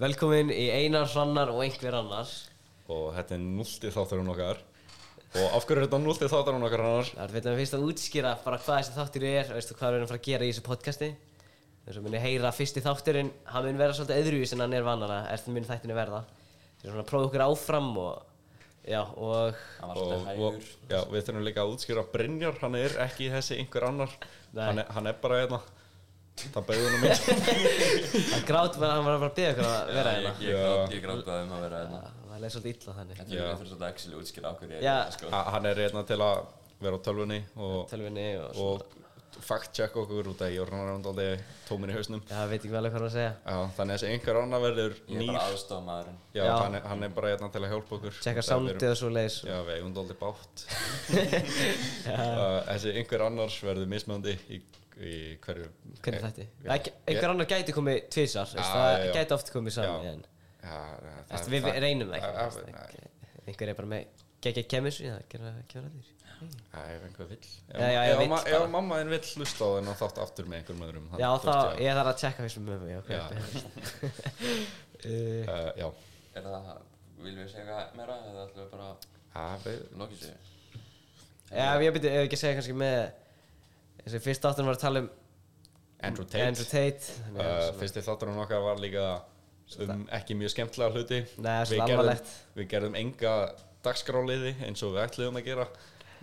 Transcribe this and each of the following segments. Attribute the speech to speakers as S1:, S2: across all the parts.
S1: Velkomin í Einar Hrannar og einhver annar
S2: og þetta er núltið þáttarun okkar og af hverju er þetta núltið þáttarun okkar annars?
S1: Það er veitum við fyrst að útskýra bara hvað þessi þáttur er veistu hvað við erum að fara að gera í þessu podcasti þess að muni heyra fyrsti þátturinn hann mun vera svolítið öðruvís en hann er vannara er það mun þættinu verða þess að prófa okkur áfram og já og
S3: Hann var
S2: Og,
S3: alltaf
S2: og
S3: hægur
S2: já, við þurfum líka að útskýra Brynjar, hann er ekki þessi einhver annar
S1: Nei.
S2: hann er, hann er bara hérna það beður hann um
S1: hann grátt var hann var bara að byggja okkur að vera
S3: Ég,
S1: hérna
S3: ég, grát, ég grátaði um að vera hérna
S1: það leið svolítið illa þannig
S3: Þetta er fyrir svolítið actually útskýra af hverju ég
S1: Já.
S3: er hérna, sko.
S2: hann er hérna til að vera á tölvunni og,
S1: tölvinni og, og
S2: og fact check okkur út af ég er hann rand aldrei tómin í hausnum
S1: já veit ekki vel hvað hann var að segja
S2: já, þannig að þessi einhver annar verður
S3: Ég er
S2: nýr
S3: bara aðstofmaðurinn
S2: já,
S1: Já.
S2: Hann, er, hann er bara hérna til að hjálpa okkur
S1: tjekka
S2: Það er-
S1: soundið og svo leiðis
S2: Já, við eigum dóldi bátt uh, Þessi einhver annars verður mismöndi í, í hverju
S1: hvernig þetta
S2: Já,
S1: einhver annar gæti komið tvisar
S2: Já,
S1: það
S2: já, já.
S1: gæti oft komið saman
S2: Já.
S1: en
S2: já, það-
S1: Eftir, við við reynum það
S2: Já,
S1: ekki
S2: já,
S1: veist, ekki- einhver er bara með geggja chemistry það gera gera allir
S2: já, ef einhver vill Ef-
S1: Já, já, ég
S2: ef
S1: vill
S2: ma-
S1: bara.
S2: Ef mamma þinn vill hlusta á þennan þátt aftur með einhverjum öðrum
S1: já
S2: þú
S1: þá
S2: veist,
S1: ég þarf að tjekka þessum mömu já,
S2: Já.
S1: uh,
S2: uh, Já,
S3: Er það, viljum við segja eitthvað meira eða ætlum við bara að
S2: Já, við-
S3: lokið sér?
S1: já ég byrju ef ekki að segja kannski með eins og fyrst áttunum var að tala um
S2: Andrew Tate,
S1: Andrew Tate þannig að
S2: Uh,
S1: svona-
S2: Fyrsti þátturinn okkar var líka um ekki mjög skemmtilega hluti
S1: Nei,
S2: Við
S1: svona
S2: gerðum-
S1: alvarlegt.
S2: Við gerðum enga dagskráliði eins og við ætluðum að gera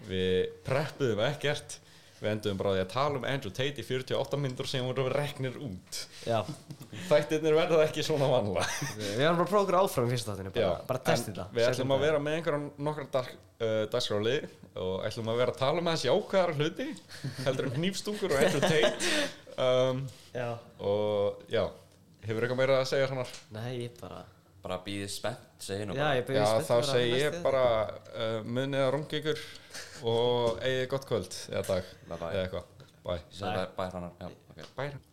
S2: Við preppuðum ekkert Við endum bara á því að tala um Andrew Tate í 48 myndur sem voru reknir út
S1: já
S2: Þættirnir verða ekki svona vanlega
S1: við við varum bara að prófa okkur áfram í fyrsta áttunum bara,
S2: Já,
S1: bara testið
S2: en
S1: það
S2: Við ætlum að vera með einhverjum nokkra dag, uh, dagskráli og ætlum að vera að tala með þessi ákvæðar hluti heldur um hnífstungur og Andrew Tate um,
S1: já
S2: og já hefur eitthvað meira að segja hannar?
S1: nei ég bara
S3: Bara býðið spennt, segi nú
S1: já
S3: bara
S1: ég byrju
S2: Já, þá segi ég bara uh, munið að runga ykkur og eigið gott kvöld eða dag
S3: Bye bye.
S2: eða eitthvað, bye
S3: Ég segi bara bæ hrannar, já, ok
S2: Bye